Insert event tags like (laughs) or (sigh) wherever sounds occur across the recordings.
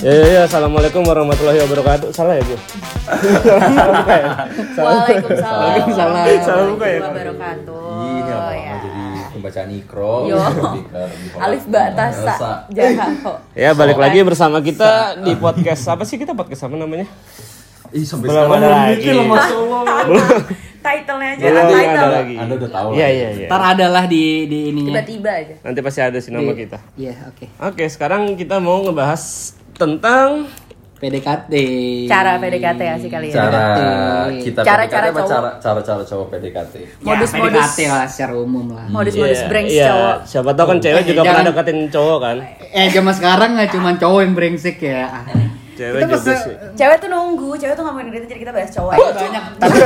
Ya, ya, ya. Assalamualaikum warahmatullahi wabarakatuh. Salah ya, Bu? Waalaikumsalam. Waalaikumsalam. Waalaikumsalam. Buka ya? Wabarakatuh. Iya, Ya. lama-lama jadi pembacaan ikro. (laughs) Yo. lebih ke- lebih (laughs) hormat. Alif ba tasa Tasa. jaha kok. Ya, balik lagi bersama kita di podcast apa sih kita podcast apa namanya? Ih, sampai Belum sekarang ada belum lagi. mikir loh, Masya Allah. Title-nya aja Belum title. ada lagi. Anda udah tahu. Iya, lah. iya, iya. Ntar adalah di di ininya. Tiba-tiba aja. Nanti pasti ada sih nama Di- kita. Iya, oke. Oke, sekarang kita mau ngebahas tentang PDKT. Cara PDKT ya sih kali ya. Cara PDKT. kita Cara-cara PDKT apa cowok. cara cara-cara cowok PDKT. Ya, Modus-modus. PDKT lah secara umum lah. Modus-modus Iya, brengsek iya. cowok. Siapa tahu kan cewek Eh, juga pernah jangan. deketin cowok kan? Eh, zaman sekarang nggak cuma cowok yang brengsek ya. Ah. Cewek Kita juga masa- sih. Cewek tuh nunggu, cewek tuh gak mau dideketin jadi kita bahas cowok. Tapi banyak tapi,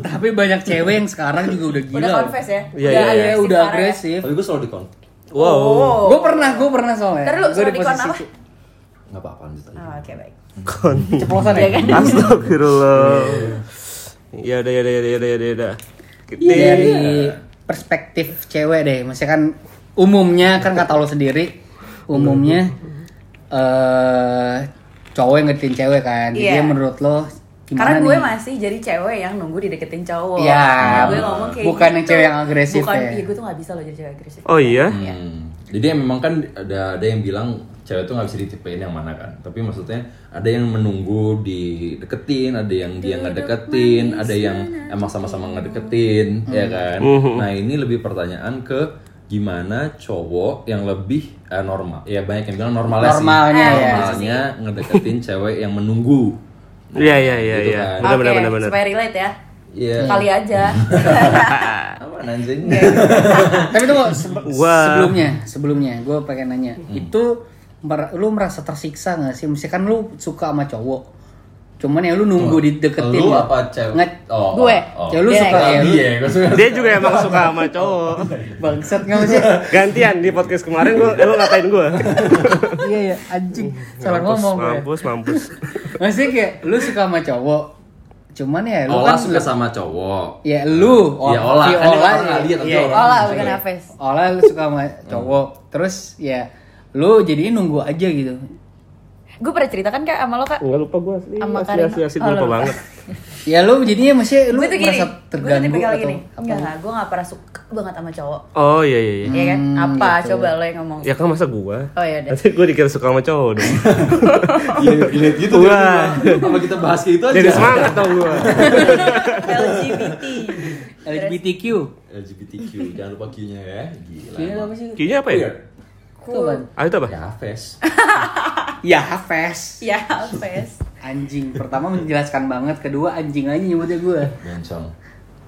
tapi banyak cewek yang sekarang juga udah gila. Udah confess ya. Iya, Udah, iya, ya, udah parah ya. agresif. Tapi gue selalu dikon. Wow. Oh. Gue pernah, gue pernah soalnya. Ntar lu Gua suruh dikon apa? ki- Enggak apa-apa lanjut aja. Oh, Oke baik. Iya Ceplosan ya kan? Astagfirullah. Ya udah ya udah ya udah ya udah ya udah. Dari Iya, perspektif cewek deh, maksudnya kan umumnya kan kata lo sendiri, umumnya eh cowok yang ngertiin cewek kan. Jadi Iya. menurut lo Karena gimana gue nih? masih jadi cewek yang nunggu dideketin cowok. Iya. Nah, gue ngomong kayak Bukan yang gitu. cewek yang agresif Bukan, ya. iya gue tuh gak bisa loh jadi cewek agresif. Oh iya. Hmm. Jadi memang kan ada ada yang bilang cewek tuh nggak bisa ditipain yang mana kan. Tapi maksudnya ada yang menunggu dideketin, ada yang dia nggak deketin, ada yang emang gitu. sama-sama nggak deketin, ya Hmm. kan. Nah ini lebih pertanyaan ke gimana cowok yang lebih eh, normal. Ya banyak yang bilang normalnya sih. Normalnya, ya. Normalnya ngedeketin cewek yang menunggu. Iya iya iya Gitu iya. Benar kan. benar Oke, benar benar. Supaya relate ya. Iya. Kali (laughs) aja. Apa anjing? Iya, Tapi tunggu (laughs) se- Wah. sebelumnya, sebelumnya gue pengen nanya, Hmm. itu mer- lu merasa tersiksa nggak sih? Misalkan lu suka sama cowok, cuman ya lu nunggu dideketin. Lu ya. apa cewek? Nggak, Oh, Gue. oh. Ya, lu Dia suka yang- ya? lu- Iya, gue suka. Dia juga emang suka sama cowok. Bangsat nggak sih? Gantian di podcast kemarin gua eh, lu ngatain gua. (laughs) Iya ya, anjing. Salah Mampus, ngomong ya? gue. Mampus mampus. Maksudnya kayak lu suka sama cowok, cuman ya lu Ola kan suka sama cowok. Ya lu, Ol- Iya, Ola. Kan si dia Ola, orang nggak lihat, tapi iya, orang Hmm. Olah Oh, bukan Hafiz. Ola lu suka sama cowok, terus ya lu jadi nunggu aja gitu. Gue pernah ceritakan kak sama lo kak. Enggak lupa gua asli. Sama Asli Karina. asli asli Oh, lupa lupa. banget. Ya lu jadinya masih lu Gue tuh gini. merasa Gue tuh terganggu tipikal atau gini. apa? Hmm, Enggak, gue gak pernah suka banget sama cowok. Oh iya iya iya. Iya kan? Apa? gitu. Coba lo yang ngomong. Ya kan masa gua? Oh (laughs) iya deh. Nanti gua dikira suka sama cowok (laughs) dong. Iya, gitu. Wah. tiba-tiba. Apa kita bahas kayak gitu Oh, aja? iya. Jadi semangat dong gua. LGBT. LGBTQ. LGBTQ, jangan lupa Q-nya ya. Gila. Iya, Ini apa sih? Kayaknya apa ya? Queer. Itu apaan? Ah itu apa? Ya, Fes. ah. Ya Hafiz. Ya, Hafiz. Anjing. Pertama menjelaskan banget, kedua anjing aja nyebutnya gue. Bencong.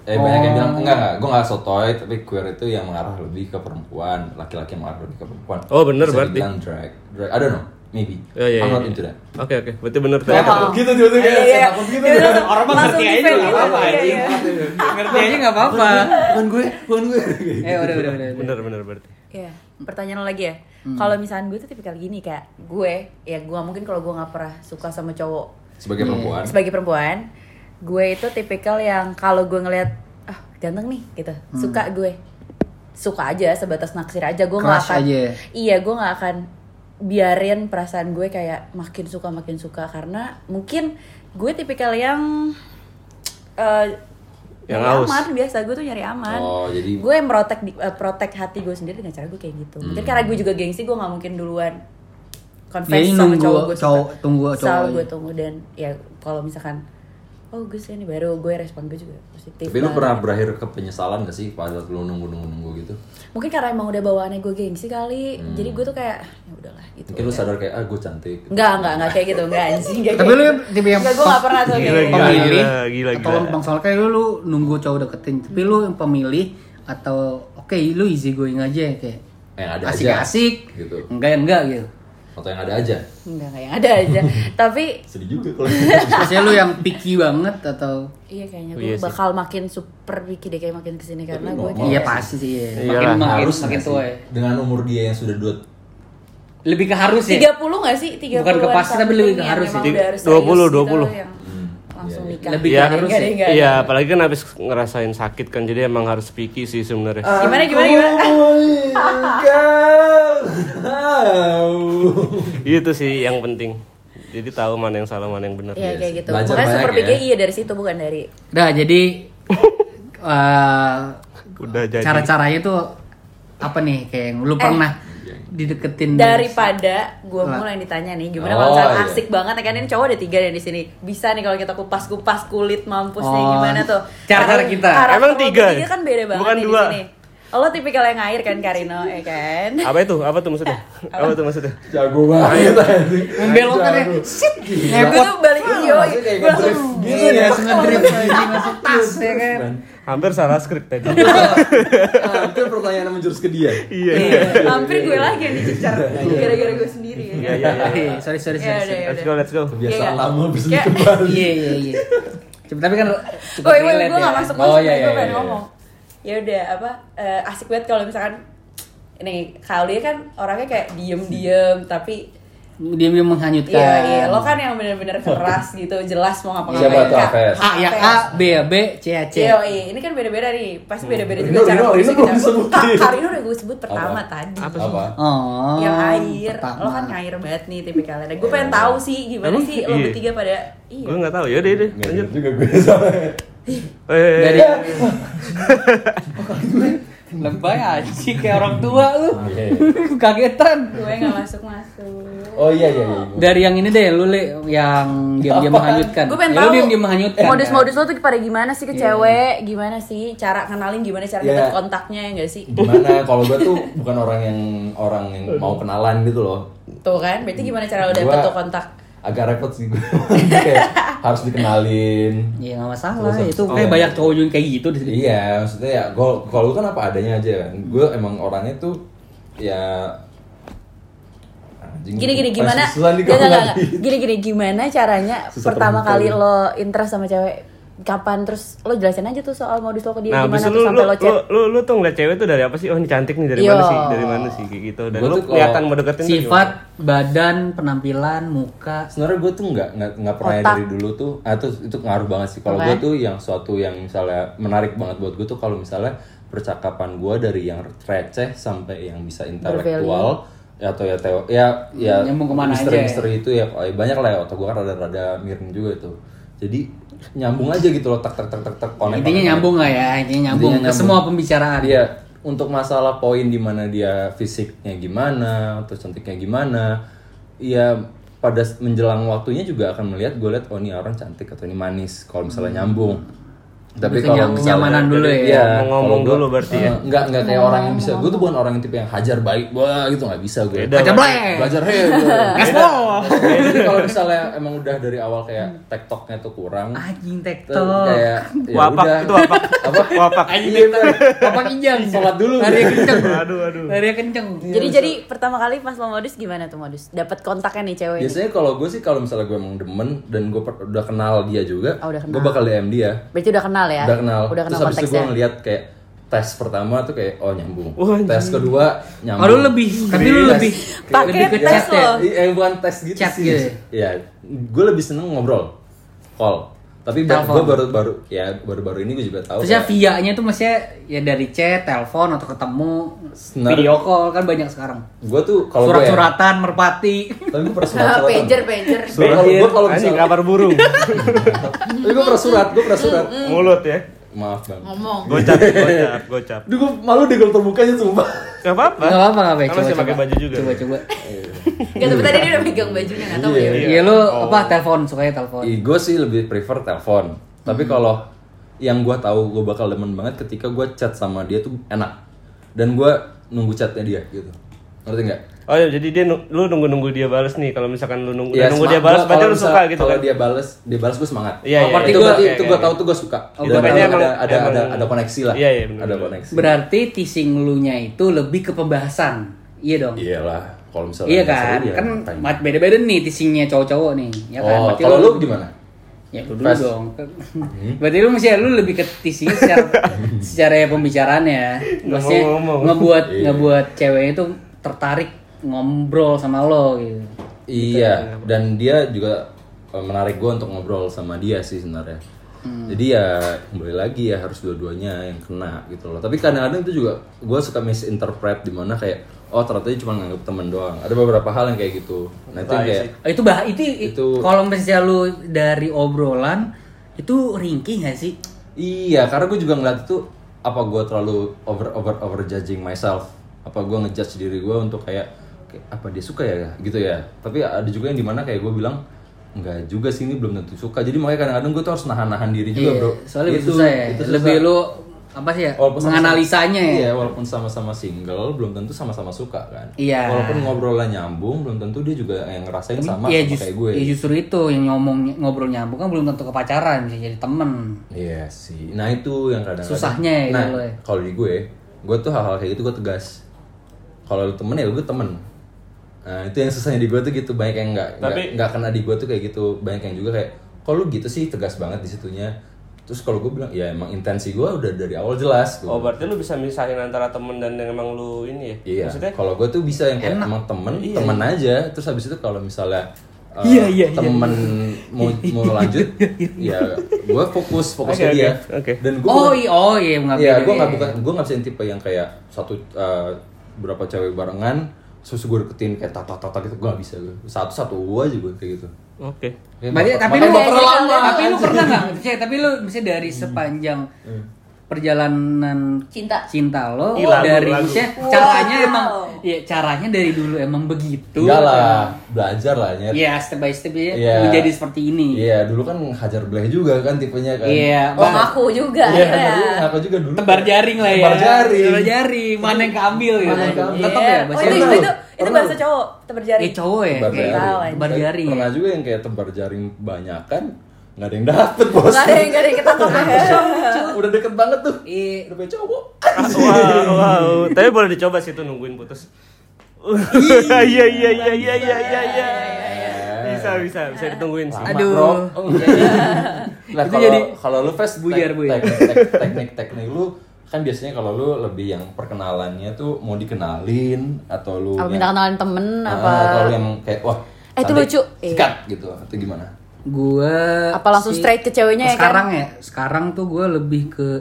Eh banyak Oh. yang bilang enggak enggak, gue enggak sotoy, tapi queer itu yang mengarah lebih ke perempuan, laki-laki yang mengarah lebih ke perempuan. Oh, bener Bisa berarti. dibilang drag, drag. I don't know, maybe. Ya, ya, I'm ya, not ya. into that. Oke oke, berarti bener tuh. ya? Kayak takut gitu tiba-tiba kayak Iya, iya. takut gitu. Iya, iya. Orang mah Langsung ngerti aja defend enggak gitu. apa-apa Iya, anjing. iya. Ngerti aja nggak apa-apa. Bukan gue, bukan gue. Eh Ya. udah udah udah. udah. Bener bener berarti. Iya, pertanyaan lo lagi ya. Kalau misalnya gue tuh tipikal gini kayak gue, ya gue nggak mungkin kalau gue nggak pernah suka sama cowok Sebagai perempuan. Iya, sebagai perempuan, gue itu tipikal yang kalau gue ngelihat ah ganteng nih gitu, Hmm. suka gue, suka aja sebatas naksir aja gue nggak Crush akan, aja ya? iya gue nggak akan biarin perasaan gue kayak makin suka makin suka karena mungkin gue tipikal yang eh, Yang nyari haus. aman biasa gue tuh nyari aman Oh, jadi- gue merotek di, eh, protect hati gue sendiri dengan cara gue kayak gitu Hmm. mungkin karena gue juga gengsi gue nggak mungkin duluan confess Jadi sama Iya, nunggu cowok gue cowok- tunggu cowok selalu aja. gue tunggu dan ya kalau misalkan oh gue sih ini baru gue respon gue juga positif Tapi lu lah. pernah berakhir ke penyesalan gak sih pada saat lu nunggu-nunggu-nunggu gitu? mungkin karena emang udah bawaannya gue gengsi kali jadi gue tuh kayak ya udahlah gitu Hmm. Mungkin lu sadar kayak ah gue cantik. Enggak, enggak, enggak kayak gitu, enggak anjing enggak Tapi kayak lu kan gitu. yang tipe yang Enggak, gue enggak pernah tuh kayak Gila, gitu. gila, pemilih gila, gila, atau gila. bang soal kayak lu, lu nunggu cowok deketin tapi lu yang pemilih atau oke lu easy going aja kayak Eh, ada asik aja. asik Gitu. enggak enggak gitu Atau yang ada aja. Enggak, enggak yang ada (laughs) aja Tapi, Sedih juga (laughs) kalau gitu. biasanya lu yang picky banget atau iya kayaknya Iya gue sih. bakal makin super wiki deh kayak makin kesini Karena gue normal. kayak iya pasti sih iya. Iyalah, makin makin, harus makin nggak tua sih? ya Dengan umur dia yang sudah dua lebih ke harus ya 30 gak sih? 30 Bukan ke pasti, tapi lebih ke harus sih sih. 20, 20. gitu Langsung Iya, iya. nikah Lebih Iya, ke Enggak, harus ya enggak, enggak. Iya, apalagi kan habis ngerasain sakit kan jadi emang harus picky sih sebenarnya. Gimana, gimana, gimana? Enggak. Itu sih yang penting. jadi tahu mana yang salah mana yang benar ya kayak gitu Belajar makanya banyak super ya. PGI ya dari situ bukan dari Udah jadi eh, udah jadi cara-caranya tuh apa nih kayak yang Eh. lu pernah dideketin daripada gue mulai yang ditanya nih gimana kalau Oh, misalnya iya. asik banget ya kan ini cowok ada tiga nih di sini bisa nih kalau kita kupas kupas kulit mampus nih Oh, gimana tuh cara-cara Karena- kita. karakter Emang lo tiga? ya? bertiga kan beda banget Bukan nih dua. di sini lo tipikal yang air kan Karino ya kan apa itu apa tuh maksudnya (laughs) apa tuh maksudnya Jago banget anjing. membelokkan ya. Iya, Jago. Shit. gue (laughs) Repot. tuh balik iyo Maksudnya kayak gue langsung ngedrift Gitu ya, langsung ngedrift lagi masuk tas ya kan. hampir salah skrip tadi (laughs) Hampir Ah, pertanyaan menjurus ke dia. iya hampir gue lagi yang dicecar gara-gara gue sendiri ya iya iya iya. Eh, (laughs) sorry sorry Ya, udah, sorry. sorry. ya, let's go udah. let's go Biasa Iya. lama bisa Kayak- kembali. Iya iya (laughs) iya. Cuma tapi kan cukup Oh, iya, relate gue ya. gak masuk Oh, masuk iya, nih, gue iya, pengen iya. ngomong. Ya udah apa eh, asik banget kalau misalkan ini kalau dia kan orangnya kayak diem-diem tapi Diam-diam menghanyutkan. Iya, iya, lo kan yang bener-bener keras gitu, jelas mau ngapa-ngapain. Siapa tuh, Ah, Kak? Aves? A ya A, B ya B, C ya C. Yoi, ini kan beda-beda nih, pasti beda-beda Hmm. Rino, juga cara Rino, menulisnya Rino belum kita. disebutin. Kak, Karino udah gue sebut pertama Apa? tadi. Apa? Oh. yang air, pertama. lo kan ngair banget nih tipikalnya. Dan Iya. gue pengen tahu sih gimana Emang? sih lo Iya. bertiga pada gue iya. nggak tahu yaudah yaudah Nggak lanjut gitu juga gue soalnya. Eh, eh, eh. Dari (laughs) lebay anjing kayak orang tua lu. Oke. (laughs) Kagetan. Gue nggak masuk-masuk. iya. Oh iya iya iya. Dari yang ini deh, lu Le, yang diam-diam Kan, menghanyutkan. Gue pengen Ya, tahu Lu diam-diam menghanyutkan. Modus-modus lo tuh pada gimana sih ke cewek? Gimana sih cara kenalin gimana cara Iya. kita kontaknya ya gak sih? Gimana kalau gue tuh bukan orang yang orang yang mau kenalan gitu loh. Tuh kan, berarti gimana cara lo dapet Gua- tuh kontak? Agak repot sih gue. (laughs) Kayak harus dikenalin. Iya nggak masalah, Terus- itu oh, kayak iya. banyak cowok juga kayak gitu di sini. Iya, maksudnya ya gua- kalau lu kan apa adanya aja kan. Gue emang orangnya tuh ya anjing, Gini gini pas gimana? susulan nih Gak, gua gak, gak, lagi. gak. Gini gini gimana caranya Susah pertama terbuka kali gitu. lo interest sama cewek? Kapan terus lo jelasin aja tuh soal modus lo ke dia nah gimana abis itu tuh lu lu, sampai lo lu chat? lu lu tuh ngeliat cewek tuh dari apa sih oh ini cantik nih dari Yo. Iya. mana sih dari mana sih kayak gitu dan lu Gua tuh kalau kelihatan mau deketin tuh Sifat, badan, penampilan, muka. Sebenarnya gue tuh nggak nggak nggak pernah ya Otak. dari dulu tuh, ah, tuh itu ngaruh banget sih. Kalau Oke. gue tuh yang suatu yang misalnya menarik banget buat gue tuh kalau misalnya percakapan gue dari yang receh sampai yang bisa intelektual atau ya teo, ya ya Nyambung kemana aja ya? misteri itu ya oh, banyak lah ya otak gue kan rada-rada miring juga tuh. Jadi nyambung aja gitu loh tak tak tak tak tak connect, Intinya connect, nyambung nggak ya? Intinya Intinya nyambung ke nyambung. semua pembicaraan. Iya, untuk masalah poin di mana dia fisiknya gimana, atau cantiknya gimana, ya pada s- menjelang waktunya juga akan melihat gue lihat oh ini orang cantik atau ini manis Hmm. kalau misalnya nyambung. Tapi Berarti kalau nyam- kenyamanan misalnya dulu ya. Iya, Mau ngomong kalau gua- dulu berarti ya? Oh. Eh, Enggak, enggak kayak orang yang bisa. Gue tuh bukan orang yang tipe yang hajar baik, wah gitu nggak bisa gue. Beda. Baca bleh. Belajar heh. gua. Gaspol. Jadi kalau misalnya emang udah dari awal kayak tektoknya tuh kurang, Anjing tuh tektok. kayak ya Wapak, udah. itu wapak. (laughs) apa? Wapak. Iya, bener. Bapak kijang. Sholat dulu. Iya. Lari kenceng. (laughs) Aduh, aduh. Lari kenceng. Jadi jadi pertama kali pas lo modus gimana tuh modus? Dapat kontaknya nih cewek. nih. Iya, Biasanya kalau gue sih kalau misalnya gue emang demen dan gue per- udah kenal dia juga, Oh, udah kenal. gue bakal DM dia. Berarti udah kenal ya? Udah kenal. Udah kenal Terus habis itu gue konteksnya. (laughs) ngeliat kayak tes pertama tuh kayak oh nyambung. Wah, anjing. tes kedua nyambung. Iya. Kalau lebih, tapi lu lebih Pakai lebih ke tes chat ya. loh. Eh bukan tes gitu Chat sih. gitu. Ya, gue lebih seneng ngobrol. Call. Tapi Telepon. gue baru baru ya baru-baru ini gue juga tahu. Terusnya kayak via-nya tuh maksudnya ya dari chat, telepon atau ketemu, Senar- video call kan banyak sekarang. gue tuh kalau gue ya, Surat-suratan, (laughs) merpati. tapi gue pernah Ah, (laughs) surat. Pager pager. Surat Eh, kalau gue kalau anjing misalnya, kabar (laughs) burung tapi gue pernah surat, gue pernah (laughs) surat. mulut ya Maaf bang. Ngomong. gocap gocap gocap Duh, gue malu deh kalau terbukanya sumpah. Gak apa-apa. Enggak apa-apa, enggak apa-apa. Kan masih pakai baju juga. Coba coba. Gak tapi tadi dia udah pegang bajunya nggak tahu Iya. ya. Iya lu Oh. apa telepon sukanya telepon. gue sih lebih prefer telepon. Tapi Hmm. kalau yang gue tahu gue bakal demen banget ketika gue chat sama dia tuh enak. Dan gue nunggu chatnya dia gitu. Ngerti nggak? Oh ya, jadi dia nu- lu nunggu nunggu dia balas nih. Kalau misalkan lu nunggu, udah Ya, nunggu sema- dia balas, gua berarti kalau lu misal- suka gitu kalau kan? dia balas, dia balas gue semangat. Iya, Oh, iya. iya. berarti itu gua- berarti Iya, itu iya, gue iya. tahu tuh gue suka. Oh, Dan gua ada, tahu. ada, ada, Emang- ada, ada koneksi lah. Iya, iya, bener, ada bener. koneksi. Berarti teasing lu nya itu lebih ke pembahasan. Iya dong. Iyalah, kalau misalnya Iya nggak kan? seru, ya kan ngapain. mat beda-beda nih teasingnya cowok-cowok nih. Ya kan? Oh, Berarti kalau lu gimana? Hmm? Ya lu dulu Fast. dong. (laughs) Berarti lu mesti lu lebih ke teasingnya secara (laughs) secara pembicaraan ya. Maksudnya Ngomong-ngomong. ngebuat Iya. ngebuat ceweknya itu tertarik ngobrol sama lo gitu. Iya, dan dia juga eh, menarik gue untuk ngobrol sama dia sih sebenarnya. Jadi ya kembali lagi ya harus dua-duanya yang kena gitu loh. Tapi kadang-kadang itu juga gue suka misinterpret dimana kayak oh ternyata dia cuma nganggap temen doang ada beberapa hal yang kayak gitu nah itu yang kayak Oh, itu bah itu, Itu- kalau misalnya lu dari obrolan itu ringkih gak sih? Iya, karena gue juga ngeliat itu apa gue terlalu over over over judging myself, apa gue ngejudge diri gue untuk kayak, kayak, apa dia suka ya gitu ya. Tapi ada juga yang dimana kayak gue bilang enggak juga sih ini belum tentu suka. Jadi makanya kadang-kadang gue tuh harus nahan-nahan diri juga bro. Iya, Soalnya lebih Itu- susah ya. itu susah. Lebih lu apa sih ya? Walaupun sama-sama- menganalisanya ya. Iya, walaupun sama-sama single, belum tentu sama-sama suka kan. Iya. Walaupun ngobrolan nyambung, belum tentu dia juga yang ngerasain sama, Iya, sama just- kayak gue. iya, justru itu yang ngomong ngobrol nyambung kan belum tentu ke pacaran bisa jadi temen. Iya sih. Nah itu yang kadang-kadang Susahnya ya Nah kalau lo ya. kalau di gue, gue tuh hal-hal kayak gitu gue tegas. Kalau lu temen ya gue temen. Nah itu yang susahnya di gue tuh gitu banyak yang nggak nggak Tapi- nggak kena di gue tuh kayak gitu banyak yang juga kayak kalau lu gitu sih tegas banget di situnya. Terus kalau gue bilang ya emang intensi gue udah dari awal jelas. Oh Gua berarti lu bisa misahin antara temen dan yang emang lu ini ya? Iya. Maksudnya Kalau gue tuh bisa yang kayak emang temen, temen aja. Terus habis itu kalau misalnya eh, Iya, iya, iya. temen mau mau lanjut, ya gue fokus fokus Oke, ke oke, dia. oke. Dan gue Oh iya, oh iya nggak Iya, beda, gue nggak iya. bukan gue nggak bisa yang tipe yang kayak satu eh, berapa cewek barengan, terus gue deketin kayak tata tata gitu, gue nggak bisa gue satu satu aja gue kayak gitu. Oke. Kayak Berarti- bakal- tapi bakal lu bakal lama, Hmm. Tapi lu anjing. pernah (laughs) nggak? Cek, tapi lu misalnya dari sepanjang Hmm. perjalanan Cinta. cinta lo Ih, Iya, lagu, dari lagu. misalnya caranya Wow. emang ya caranya dari dulu kan- emang begitu. Enggak lah, belajar lah nyet. Ya step by step ya Iya. menjadi seperti ini. Iya, dulu kan hajar belah juga kan tipenya kan. Iya, Oh, aku juga Iya, ya. dulu aku juga dulu. Tebar jaring lah ya. Tebar jaring. Tebar jaring. Mana yang keambil gitu. Mana yang keambil. Tetep Iya. ya Oh, bahasa itu, Pernah itu, lu? itu, Pernah bahasa lu? cowok, tebar jari. Eh cowok ya. Iya, Tebar kayak jaring. gitu. Tebar Tapi jaring. ya. Pernah juga yang kayak tebar jaring banyakan nggak ada yang dapet bos. Gak ada yang gak ada yang ketangkep ya. (laughs) Iya. Udah deket banget tuh. Iya. Udah punya cowok. Wow, wow. (laughs) Tapi boleh dicoba sih itu nungguin putus. Iya iya iya iya iya iya iya. iya. Bisa bisa bisa ditungguin sih. Lama, Aduh. (laughs) Bro. Nah, Itu iya, kalau jadi- kalau lu fast Buyar, buyar. Teknik-teknik lu kan biasanya kalau lu lebih yang perkenalannya tuh mau dikenalin atau lu Apa yang- minta kenalan temen Ah, apa? atau lu yang kayak wah Eh, itu cantik, lucu. Iya. sikat gitu atau gimana Gue Apa langsung straight ke ceweknya ya kan? sekarang ya sekarang tuh gue lebih ke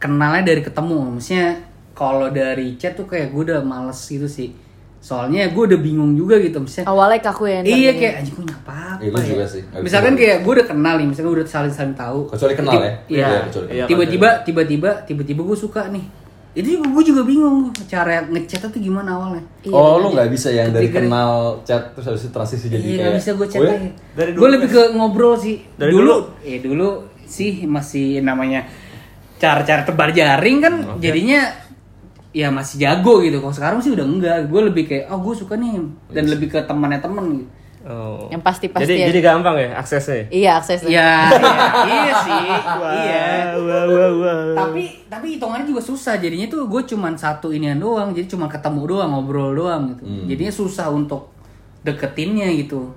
kenalnya dari ketemu maksudnya kalau dari chat tuh kayak gue udah males gitu sih soalnya gue udah bingung juga gitu misalnya Awalnya kaku ya. ntar iya gini. kayak anjing gue nyapa apa Iya, gua ya?" juga sih. Nggak bisa misalkan juga. kayak gue udah kenal nih misalkan udah saling saling tahu kecuali kenal ya Iya. kecuali Iya, kenal. tiba-tiba tiba-tiba tiba-tiba gue suka nih ini gue juga bingung cara ngechat tuh gimana awalnya oh lu nggak bisa yang dari Ketika- kenal chat terus habis itu transisi jadi Iya kayak nggak bisa gue chat "Oh ya?" lagi. Dari dulu, kan? Gue lebih ke ngobrol sih. Dari dulu, dulu? eh dulu sih masih namanya cara-cara tebar jaring kan jadinya ya masih jago gitu. Kalau sekarang sih udah enggak. Gue lebih kayak oh gue suka nih Iya dan lebih ke temannya temen gitu. Oh. Yang pasti-pasti Jadi ya. jadi gampang ya aksesnya. Iya aksesnya. (laughs) Iya, iya, iya sih. Iya. Wow wow wow. Tapi tapi hitungannya juga susah. Jadinya tuh gue cuman satu inian doang. Jadi cuma ketemu doang, ngobrol doang gitu. Hmm. Jadinya susah untuk deketinnya gitu.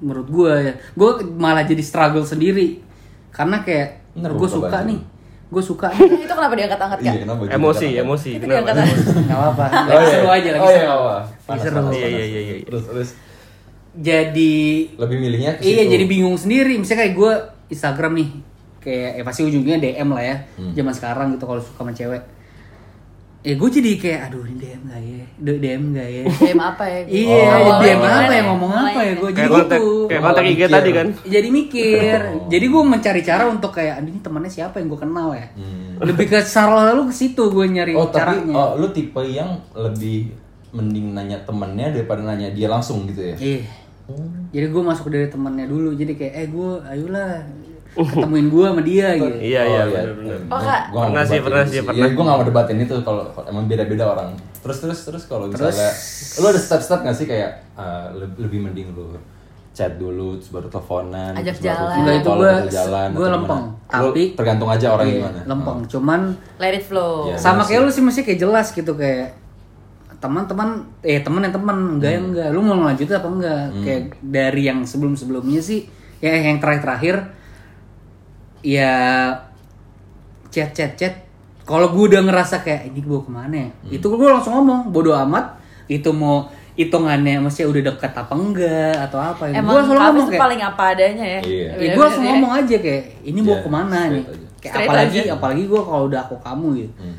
Menurut gue ya. Gue malah jadi struggle sendiri. Karena kayak Bener, gue buka suka baju. nih. Gue suka (laughs) nih. Itu kenapa diangkat-angkat iya kak? kenapa gitu? Emosi emosi Itu kenapa? diangkat-angkat. Gak apa-apa. Lagi seru aja lagi oh, iya, seru. nggak apa-apa. Panas, seru. panas, Iya panas. iya iya iya. terus terus Jadi lebih milihnya ke iya situ. jadi bingung sendiri. Misalnya kayak gue Instagram nih. Kayak ya pasti ujungnya DM lah ya. Hmm. Zaman sekarang gitu kalau suka sama cewek. Ya gue jadi kayak aduh ini DM gak ya? Duh, DM gak ya? DM apa ya? Iya, Oh, dia awalnya apa ya gimana? ngomong apa ya gue jadi Kayak kontak gitu. kayak kontak IG tadi kan. Jadi mikir, Oh. jadi gue mencari cara untuk kayak "Aduh, ini temannya siapa yang gue kenal ya. Lebih ke salah lalu ke situ gue nyari Hmm. oh tapi caranya. oh, lu tipe yang lebih mending nanya temennya daripada nanya dia langsung gitu ya Iya. Hmm. Jadi gue masuk dari temannya dulu, jadi kayak eh gue ayolah (laughs) ketemuin gue sama dia gitu. Iya iya Oh, benar benar. Oh, Kak. Gua nggak mau Pernah sih, debatin pernah itu sih, Iya, pernah. gua nggak mau debatin itu kalau kalau emang beda-beda orang. Terus terus terus kalau misalnya lu ada step-step nggak sih kayak eh, le- lebih mending lu chat dulu terus baru teleponan Ajak terus baru jalan. Enggak, itu call, gua- baru jalan gua atau lempeng. gimana? Lu Tapi- tergantung aja orang Iya, gimana. Oh. Lempeng, cuman Let it flow. Iya. sama kayak lu sih mesti kayak jelas gitu kayak teman-teman eh teman yang teman enggak yang enggak lu mau lanjut apa enggak kayak dari yang sebelum-sebelumnya sih ya yang terakhir-terakhir ya chat chat chat kalau gue udah ngerasa kayak ini gue kemana ya itu gue langsung ngomong bodo amat itu mau hitungannya masih udah deket apa enggak atau apa gitu. Emang Gua langsung Kavis ngomong tuh kayak paling apa adanya ya. Iya. ya gue langsung ngomong aja kayak ini mau Iya, kemana straight nih aja. kayak Straight apalagi aja. apalagi gue kalau udah aku kamu gitu Hmm.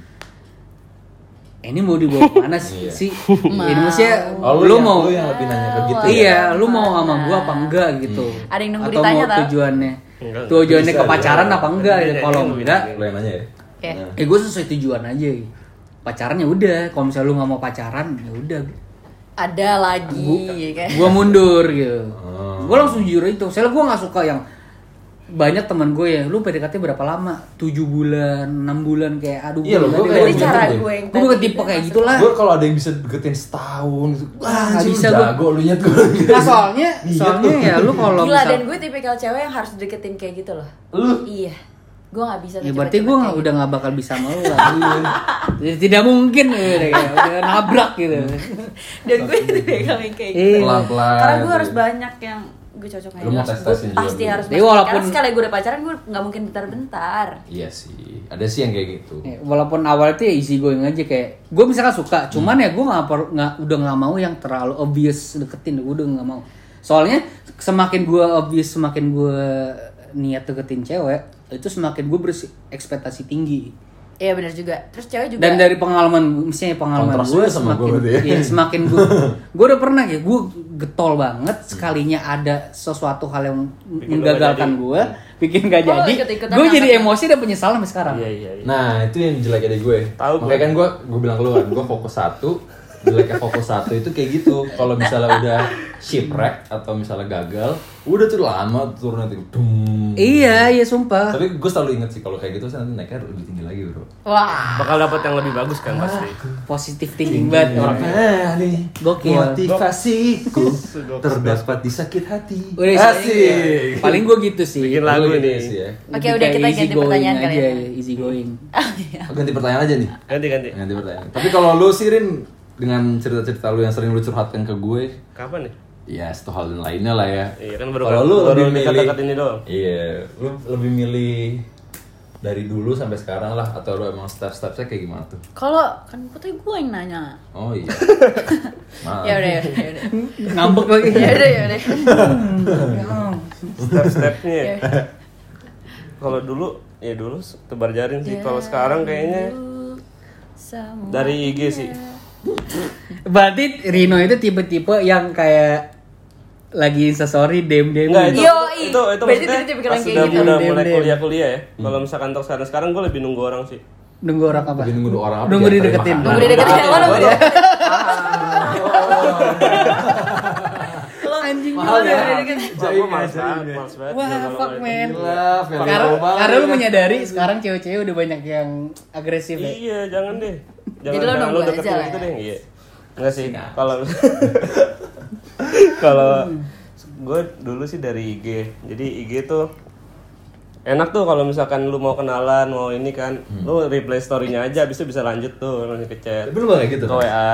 ini mau dibawa kemana sih sih ini maksudnya Iya. Oh, lu yang- mau lu yang lebih nanya ke gitu ya? iya lu mau sama gua apa enggak gitu Ada yang nunggu atau ditanya, mau tau. tujuannya Enggak, tujuannya bisa ke pacaran dong. apa enggak Nanti ya nyanyi kalau nunggu enggak ditanya. Lu yang nanya ya? Oke. eh gue sesuai tujuan aja pacarannya udah kalau misalnya lu nggak mau pacaran ya udah Ada lagi ya kan. gue mundur gitu Oh. gue langsung jujur itu soalnya gue nggak suka yang banyak teman gue ya lu PDKT berapa lama 7 bulan 6 bulan kayak aduh Iya loh, gua kayak Jadi gitu cara deh. gue yang gue bukan tipe kayak gitu gitulah Gue kalau ada yang bisa deketin setahun gitu, wah Nggak anjing bisa bisa gua. jago lu nya tuh. nah soalnya Iya, (laughs) soalnya ya lu kalau Gila misal- dan gue tipikal cewek yang harus deketin kayak gitu loh. Iya. Gue nggak bisa. Ya tuh berarti gue cepet-cepet kayak gitu. udah nggak bakal bisa mau (laughs) lah. Jadi Tidak mungkin ya, udah, kayak, udah nabrak (laughs) gitu. gitu. Dan Iya. gue tipikal yang kayak gitu. Iya. Pelan-pelan. Karena gue harus banyak yang gue cocok Lu mau Terus tes-tesin gue juga Pasti dulu. harus. Tapi pastikan. walaupun- Karena sekali gue udah pacaran gue nggak mungkin bentar-bentar. Iya sih, ada sih yang kayak gitu. Ya, Walaupun awal itu ya easy going aja kayak gue misalkan suka, cuman Hmm. ya gue nggak per- nggak udah nggak mau yang terlalu obvious deketin, gue udah nggak mau. Soalnya semakin gue obvious, semakin gue niat deketin cewek, itu semakin gue berekspektasi tinggi. Iya benar juga. Terus cewek juga. Dan dari pengalaman, misalnya pengalaman Kontras gue juga sama semakin, gua berarti ya. iya, semakin gue, (laughs) gue udah pernah ya, gue getol banget Hmm. sekalinya ada sesuatu hal yang menggagalkan gue, bikin gak Oh, jadi, ikut-ikutan gue jadi nangkep. emosi dan penyesalan sampai sekarang. Iya iya. iya. Nah itu yang jelek dari gue. Tahu gue. Makanya kan gue gue bilang ke lu kan, gue fokus satu. Jeleknya fokus satu itu kayak gitu. Kalau misalnya udah shipwreck atau misalnya gagal, udah tuh lama turun nanti dum. Iya, iya sumpah. Tapi gue selalu inget sih kalau kayak gitu saya nanti naiknya lebih tinggi lagi bro. Wah. (laughs) Bakal dapat yang lebih bagus kan pasti. Positif thinking banget orangnya. Ah, nih, Iya. Gokil. motivasiku terdapat di sakit hati. Udah, Asik. Paling gue gitu sih. Bikin Lebih lagu Lu gitu nih. sih ya. Oke, udah kayak kita easy ganti going pertanyaan kali aja, ya. ya, Easy going. Ganti pertanyaan aja nih. Ganti ganti. Ganti pertanyaan. Tapi kalau lu sirin dengan cerita-cerita lu yang sering lu curhatkan ke gue, Kapan nih? ya satu hal dan lainnya lah ya. Iya kan baru Kalau lu baru lebih milih dekat-dekat ini doang. Iya, lu lebih milih dari dulu sampai sekarang lah atau lu emang step-stepnya kayak gimana tuh? Kalau kan putih gue yang nanya. (laughs) Oh iya. Ah. Maaf. Ya udah ya udah. ya udah. Ngambek lagi. Ya udah ya (laughs) udah. Iya. Step-stepnya. Kalau dulu ya dulu tebar jaring Iya, sih. Kalau sekarang kayaknya Sama. dari IG sih. (laughs) Berarti Rino itu tipe-tipe yang kayak lagi instastory dem-dem. gitu. Enggak itu, Yoi. itu itu itu Berarti maksudnya tipe-tipe pas yang kayak udah gitu. udah Dem, mulai dem. kuliah-kuliah ya. Kalau misalkan untuk sekarang sekarang gue lebih nunggu orang sih. Nunggu orang apa? Lebih nunggu dua orang apa? Nunggu Diantarin dideketin. makanan. Nunggu dia deketin Maaf, oh, nunggu maaf. dia- Lo anjing Mahal gimana? ya? Wah, gue males banget, males banget. Gua Wah, kalau fuck, kayak man. gitu. Gila, Fel. Karena, karena lu menyadari sekarang cewek-cewek udah banyak yang agresif ya. Iya, jangan deh. Jangan, Jadi lo jangan nunggu aja deketin lah gitu ya? deh. Iya. Enggak sih. Kalau (laughs) kalau gue dulu sih dari IG. Jadi IG tuh enak tuh kalau misalkan lu mau kenalan, mau ini kan, lu replay story-nya aja habis itu bisa lanjut tuh lanjut ke chat, Tapi lu gak kayak gitu. ke WA.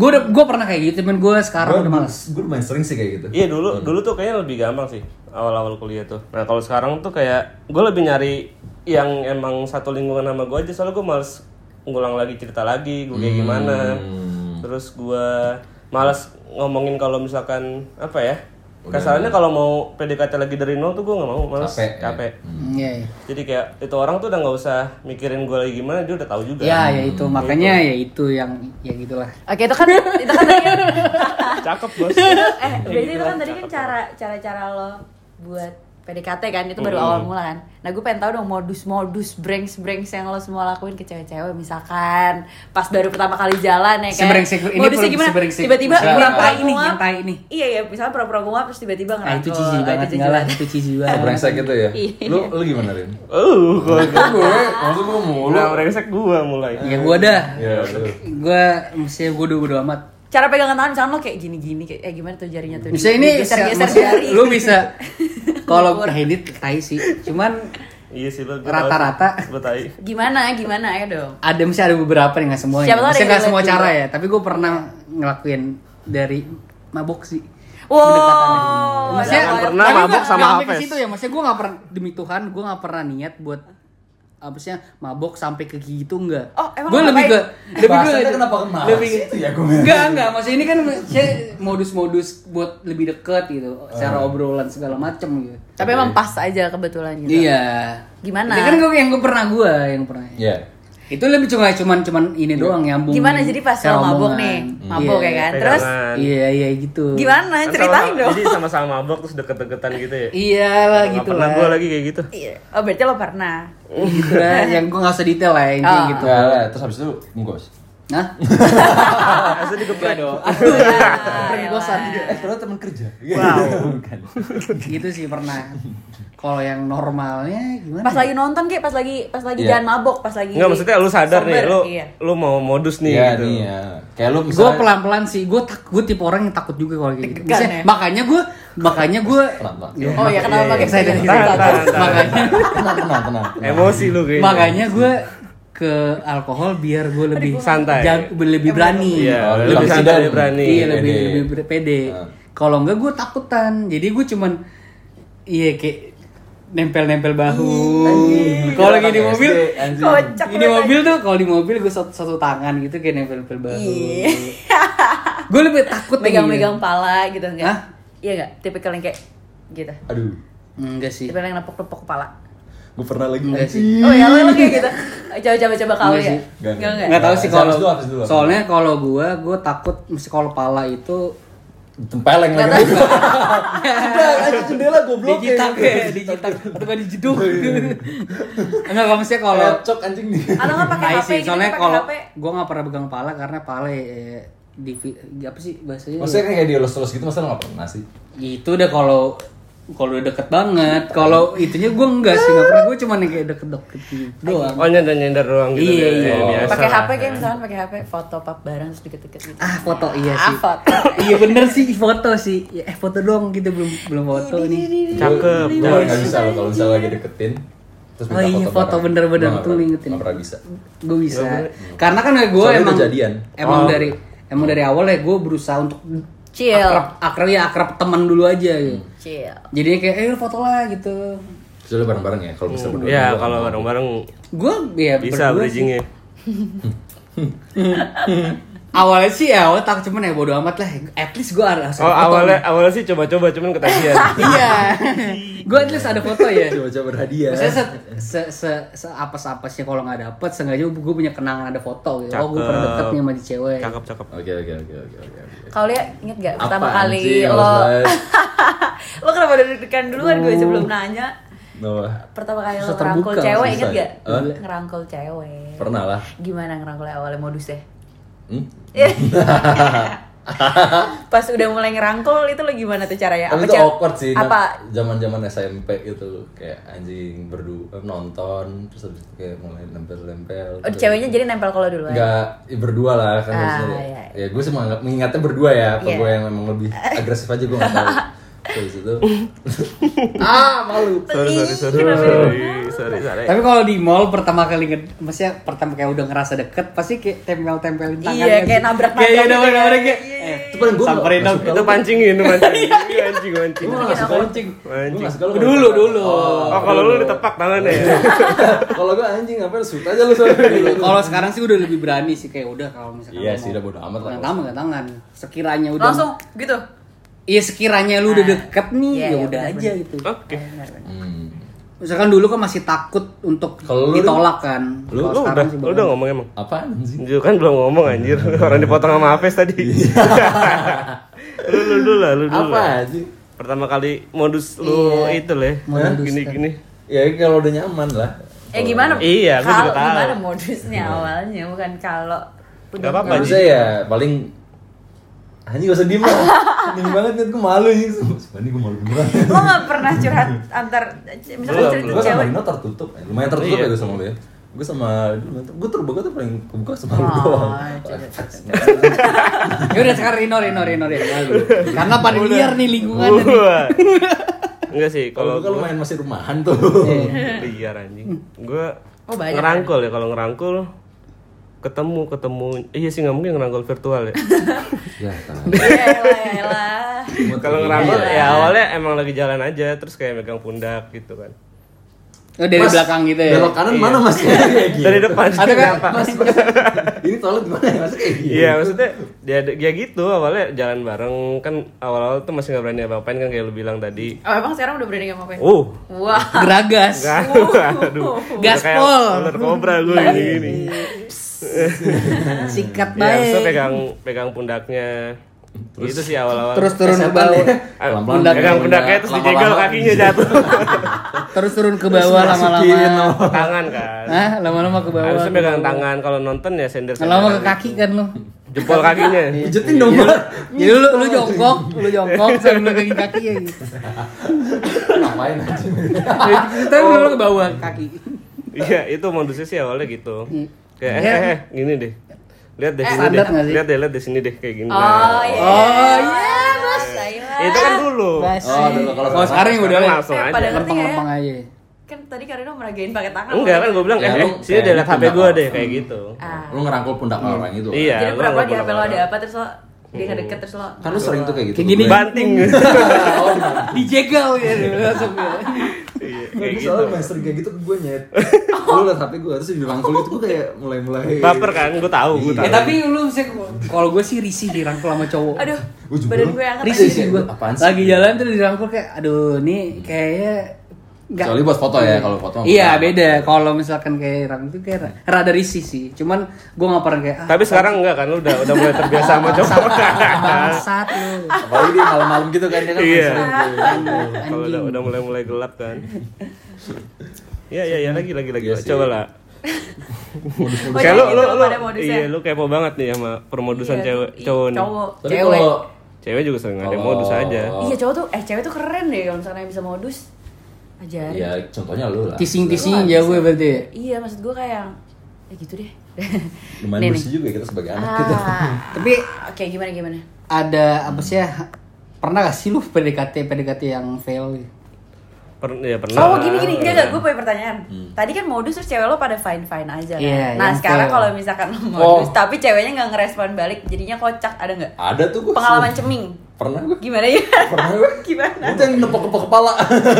Gue udah gue pernah kayak gitu, cuman gue sekarang udah males. Gue lumayan sering sih kayak gitu. Iya dulu dulu tuh kayaknya lebih gampang sih awal-awal kuliah tuh. Nah kalau sekarang tuh kayak gue lebih nyari yang emang satu lingkungan sama gue aja soalnya gue males ngulang lagi cerita lagi gue kayak gimana. Terus gue males ngomongin kalau misalkan apa ya Kesannya kalau mau PDKT lagi dari nol tuh gue nggak mau males Capek, capek. ya. Iya. iya. Jadi kayak itu orang tuh udah nggak usah mikirin gue lagi gimana dia udah tahu juga. Ya, ya itu makanya ya itu yang ya gitulah. Oke, itu kan itu kan tadi kan. Cakep bos. Eh, berarti gitu itu kan tadi kan cara cara-cara lo buat PDKT kan itu baru awal mula kan. Nah gue pengen tahu dong modus-modus brengs-brengs yang lo semua lakuin ke cewek-cewek misalkan pas baru pertama kali jalan ya kan. Sebrengsek- ini Modusnya perlu gimana? sebrengsek. Tiba-tiba Misalkan- pura-pura Yang tai nih, nguap. yang tai nih. Iya ya, misalnya pura-pura nguap terus tiba-tiba ngerangkul. Ah itu jijik banget jijik enggak lah, banget. itu jijik banget. Brengsek gitu ya. Iya. Lu lu gimana Rin? Uh, gue gue, maksud gue mulu. udah brengsek gue mulai. Ya gue dah. Ya, lu. Gue mesti gue udah bodo amat. Cara pegangan tangan misalnya lo kayak gini-gini kayak eh gimana tuh jarinya tuh. Bisa ini geser-geser maksudnya jari. lu bisa kalau edit tai sih. Cuman Iya sih lo Rata-rata. Gue tai. Gimana? Gimana ya dong? ada mesti ada beberapa nih nggak semuanya Siapa tahu ada mesti yang nggak semua relate cara juga. Iya. ya tapi gue pernah ngelakuin dari mabok sih Wow. ya Jangan pernah tapi mabok nggak- sama nggak sampai ke Hafiz. situ ya maksudnya gue nggak pernah demi Tuhan gue nggak pernah niat buat abisnya mabok sampai ke gitu enggak Oh, emang gue lebih ke ngapain? lebih ke Bahasanya kenapa kemarin? lebih itu ya gue. enggak enggak maksudnya ini kan maksudnya modus-modus buat lebih deket gitu Ah. secara obrolan segala macem gitu Tapi emang pas aja kebetulan gitu. iya Gimana? ini kan gue yang gue pernah gue yang pernah Iya. Itu lebih cuma cuman cuman ini doang nyambung. Gimana jadi pas Cara lo mabok omongan. nih, mabok Iya. ya kan? Terus Pegangan. Iya iya gitu. gimana? Kan Nah, Ceritain sama- dong. Jadi sama-sama mabok terus deket-deketan gitu ya. Iyalah Nggak gitu pernah lah. gue lagi kayak gitu. Iya. Oh berarti lo pernah. gitu lah, yang gue gak usah detail lah intinya Ah. gitu. Nggak lah, Nah, terus habis itu nggos. Nah. (laughs) Hah? Asli digeprek. Aduh, Ya, pergosan. Eh, ternyata teman kerja. Wow. (laughs) Bukan. Gitu sih pernah. Kalau yang normalnya gimana? ya? Pas lagi nonton kayak pas lagi pas lagi Iya. jangan mabok, pas lagi Enggak maksudnya lu sadar nih, sober. lu Iya. lu mau modus nih Iya gitu. nih ya. Kayak lu gue misalnya pelan-pelan sih, gue tak, gue tipe orang yang takut juga kalau kayak gitu. Deg-degan Misalnya- ya? Makanya gue, makanya gue, Pelan-pelan. Oh ya kenapa pakai saya saya? Tahan, tahan, tahan. makanya, tenang tenang tenang. Emosi lu kayaknya. makanya gue ke alkohol biar gue lebih Santai. jag- lebih berani. Iya, Oh, lu lebih lebih santai, sadar. lebih berani. Iya Pede. lebih lebih ber- pede. Ah. Kalau enggak gue takutan. Jadi gue cuman iya kayak nempel-nempel bahu. Kalau lagi di Anak mobil, Iya, SD, anjing. Kocak ini lu, mobil tuh kalau di mobil gue satu, satu tangan gitu kayak nempel-nempel bahu. Iya. (laughs) gue lebih takut yang megang-megang pala gitu enggak? iya. Hah? Iya enggak? Tipikal yang kayak gitu. Aduh, gitu. Enggak sih. Tipikal yang nepok-nepok kepala. gue pernah lagi. Enggak sih. Oh ya, lo lo kayak gitu. Coba coba coba kau Iya ya. Enggak, sih. Enggak enggak. enggak. Enggak tahu sih kalau Habis dulu, habis dulu. soalnya kalau gue gue takut mesti kalau pala itu Tempeleng lagi. Udah, aja jendela goblok. dijitak gitu. (laughs) ya, dijitak. Atau gak dijeduk. Iya, (laughs) Enggak kalau misalnya kalau Kalau cok anjing nih. Atau enggak pakai Nah, HP sih, gitu, soalnya pakai kalau HP. gue nggak pernah pegang pala karena pala eh, di, di- apa sih bahasanya? Maksudnya kan kayak diolos-olos gitu, masa lu nggak pernah sih? Itu udah Gitu kalau kalau udah deket banget, kalau itunya gue enggak sih, nggak pernah gue cuman yang kayak deket-deket gitu doang. Oh nyender nyender doang gitu. Iya, ya, iya. biasa Pakai lah. HP kayak misalnya pakai HP foto pap barang terus deket-deket gitu. Ah foto iya Ah, sih. foto. (coughs) iya bener sih foto sih. Ya, eh foto doang gitu belum belum foto nih. Cakep. Gue cakep. nggak bisa loh kalau misalnya lagi deketin. Terus Oh iya, foto bareng. bener-bener Gua nggak tuh pernah- ngingetin. nggak pernah bisa. Gue bisa. Karena kan gue Soalnya emang udah jadian. Emang Oh. dari emang dari awal ya gue berusaha untuk Chill. akrab akrab ya akrab teman dulu aja gitu. Hmm. Chill. Jadinya kayak eh lu foto lah gitu. Terus lu bareng-bareng ya kalau bisa berdua. Ya kalau bareng-bareng Gue ya bisa berdua sih. bridgingnya. Awalnya sih ya awalnya tak cuman ya bodo amat lah. At least gue harus Oh awalnya awalnya sih coba-coba cuman (laughs) ketagihan. Iya. gue at least ada foto ya. Coba-coba berhadiah. Maksudnya se se se, se apes apesnya kalau nggak dapet, sengaja gue punya kenangan ada foto gitu. Oh gue pernah deket nih sama di cewek. Cakep cakep. Oke oke oke oke oke. oke. Kau lihat inget gak pertama Apaan sih, kali lo Oslas? (laughs) lo kenapa udah deg-degan duluan gue sebelum nanya Noah. pertama kali lo Susah ngerangkul terbuka, cewek susah inget ya. gak Hah? ngerangkul cewek Pernah lah. gimana ngerangkulnya awalnya modusnya Hmm? pas udah mulai ngerangkul itu lo gimana tuh caranya Apa Tapi Oh, itu ca- awkward sih. apa Zaman zaman SMP gitu kayak anjing berdua nonton terus habis itu kayak mulai nempel-nempel. oh, ceweknya jadi nempel kalau dulu ya? Enggak, ya berdua lah kan Ah, harusnya. iya, Ya gue cuma nganggap- mengingatnya berdua ya, apa Iya. gue yang memang (laughs) lebih agresif aja gue nggak tahu. Terus itu (laughs) ah malu. Sorry sorry sorry sorry sorry. Eh. sorry. Tapi kalau di mall pertama kali nge- maksudnya pertama kayak udah ngerasa deket pasti kayak tempel-tempelin tangan. Iya, kan kayak sih? nabrak-nabrak Kayak gitu nabrak-nabrak ya. kayak. Iya, eh, Itu paling gue Samperin dong. Itu pancingin, mancing, mancing, mancing. Gue nggak suka anjing. Gue nggak suka lu. Dulu, dulu. Oh kalau lu ditepak tangannya ya. (laughs) Kalau gue anjing ngapain lu suka aja lu (laughs) gitu. iya. soalnya. Kalau sekarang sih udah lebih berani sih kayak udah kalau misalkan Iya mau- sih, udah bodo amat lah. Nggak tangan, nggak tangan. Sekiranya udah langsung gitu Iya sekiranya lu udah deket nih Iya, ya iya, udah benar, aja benar. gitu. Oke. Hmm. Misalkan dulu kan masih takut untuk Kalau lu- ditolak kan. Lu Kalau lu sekarang udah sih lu bodo udah amat. ngomong emang. Apaan anjing? Ju kan belum ngomong (laughs) anjir. Orang dipotong sama Hafiz tadi. Iya. lu lu dulu lah, lu dulu. lah. Apa anjing? Pertama kali modus lu itu leh. Iya. modus Gini kan. gini. Ya kalau udah nyaman lah. eh gimana Iya, gua Kalau- juga tahu. gimana modusnya awalnya bukan kalau Gak apa-apa, Harusnya ya paling Anjing gak usah diem (laughs) lah Diem banget kan gue malu anjing Sumpah ini gue malu beneran lo gak pernah curhat antar misalkan Belum, cerita Gue sama cewek Nino tertutup ya. Lumayan tertutup Iya. ya gue sama lu ya Gue sama Gue terbuka tuh paling kebuka sama lu Oh, doang coba. Ya udah sekarang Rino Rino Rino Rino. Karena pada liar nih lingkungannya. nih. Wah. Enggak sih, kalau Kalau gue gua Iya. lumayan masih rumahan tuh liar Hmm. anjing. Gua Oh, banyak. ngerangkul ya kalau ngerangkul ketemu ketemu iya sih nggak mungkin ngerangkul virtual (laughs) ya Ya tahan. (laughs) ya elah, ya elah. Iya. Iya. ya, kalau ngerangkul ya awalnya emang lagi jalan aja terus kayak megang pundak gitu kan Oh, dari Mas, belakang gitu ya? belok kanan mana (laughs) mas dari Dari depan. Atau Iya, kan- Kenapa? mas, mas, ini toilet gimana ya mas kayak gini Iya maksudnya dia dia gitu awalnya jalan bareng kan awal-awal tuh masih nggak berani apa-apain kan kayak lu bilang tadi. Oh, emang sekarang udah berani ngapain? Uh, Wah. Geragas. (laughs) kan, aduh, udah kayak Oh. Gaspol. ular kobra gue gini gini. Sikat Iya, baik. maksudnya pegang pegang pundaknya. gitu sih awal-awal. terus turun ke bawah. pelan-pelan pundak. pegang pundaknya terus lama-lama. dijegal kakinya jatuh. Terus turun ke bawah Terus masukin, no. lama-lama. tangan kan. Hah, lama-lama ke bawah. Harusnya pegang tangan kalau nonton ya sender. Lama ke kaki kan lu. Jempol kakinya. Iya. pijetin dong mas Jadi lu lu jongkok, lu jongkok sambil pegang kaki ya gitu. ngapain aja Kita lu ke bawah kaki. Iya, itu modusnya sih awalnya gitu. Kayak eh, Iya. eh, eh, gini deh. Lihat deh sini deh. Eh, standar nggak sih? Lihat deh, lihat deh sini deh kayak gini. Oh Nah. iya. Oh, iya, Mas. Eh, Itu kan dulu. Basi. Oh, dulu kalau Oh, sekarang ya udah Sekarang lah. langsung Eh, aja. padahal- Lempeng-lempeng aja. Kan tadi Karina meragain pakai tangan. Enggak kan gue bilang Ya, eh, lu eh sini deh kayak lihat HP pundak gue orang. deh kayak gitu. Ah. lu ngerangkul pundak orang itu kan? Iya, Jadi lu pura-pura nggak di HP lo ada pernah- apa terus lo Hmm. dia deket terus lo. kan lu sering tuh kayak gitu Kayak gini. Gue- (laughs) Banting. Dijegal gitu langsung ya. Iya, (laughs) Gue kayak gitu. soalnya master kayak gitu ke gue nyet (laughs) Lu liat HP gue harus dirangkul itu gue gitu, kayak mulai-mulai Baper kan, gue tahu, gue Iya. tahu. Eh tapi lu sih kalau gue sih risih dirangkul sama cowok. Aduh, Gua juga. badan gue angkat. risih lagi. sih gue. Apaan sih? Lagi jalan tuh dirangkul kayak aduh nih kayaknya nggak- Kecuali buat foto ya, kalau foto mah Iya foto. beda. Kalau misalkan kayak rangkul itu kayak ra- rada risih sih. Cuman gue nggak pernah kayak ah, Tapi sekarang enggak kan, lu udah udah mulai terbiasa (laughs) sama cowok. bangsat lu. apalagi dia malam-malam gitu kan dia kan (laughs) Iya. sering tuh. Kalau udah udah mulai mulai gelap kan. Iya, iya, iya lagi lagi lagi. Iya sih. Coba lah. Oh, Kayak lu jadi lu gitu lu pada modusnya. iya lu kepo banget nih sama permodusan Iya, cewek i- cowok nih. Cowok. Tapi Cewek. kalau- Cewek juga sering ada Kalau- modus aja. Iya cowok tuh, eh cewek tuh keren deh kalau misalnya bisa modus aja. Iya, contohnya lu lah Tising-tising jauh ya berarti ya. Iya maksud gue kayak, ya gitu deh. Nih, lumayan bersih juga kita sebagai anak (laughs) gitu Ah, Tapi oke gimana gimana? ada apa sih ya? Pernah gak sih lu PDKT PDKT yang fail? Per- ya pernah. Oh gini gini, enggak enggak, gue punya pertanyaan. Hmm. Tadi kan modus terus cewek lo pada fine fine aja. kan? Iya, nah yang sekarang fail. kalau misalkan lo modus, Oh. tapi ceweknya nggak ngerespon balik, jadinya kocak ada nggak? ada tuh gue Pengalaman ceming, pernah gue gimana (laughs) ya? pernah gue (laughs) Gimana? itu yang nepok-nepok kepala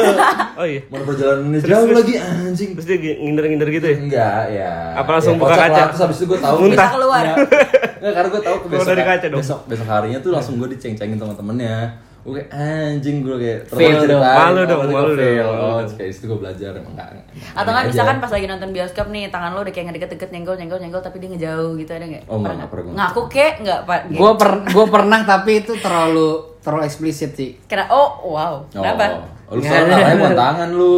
(laughs) Oh iya. mana perjalanannya jauh terus. lagi anjing Terus dia ngindar-ngindar gitu ya. enggak ya Apa langsung Ya, buka kocak kaca? lah. terus habis itu gue tahu Muntah. Bisa keluar. Enggak. (laughs) Enggak, karena gue tahu ke Keluar besok, dari kaca dong. besok besok harinya tuh langsung gue diceng-cengin teman-temannya gue kayak anjing gue kayak terus Fail gua ceritain, dong. Malu dong, oh, berarti malu gua fail. dong, malu oh dong. kayak situ gue belajar emang enggak Atau nggak aneh misalkan aja. pas lagi nonton bioskop nih, tangan lo udah kayak ngedeket-deket nyenggol nyenggol nyenggol tapi dia ngejauh gitu ada nggak? Oh, nggak, nggak pernah. Ngaku kek nggak pak? Gue per gue pernah tapi itu terlalu terlalu eksplisit sih. Kena oh wow, Oh, kenapa? oh, lu sekarang (laughs) arahnya buat tangan lu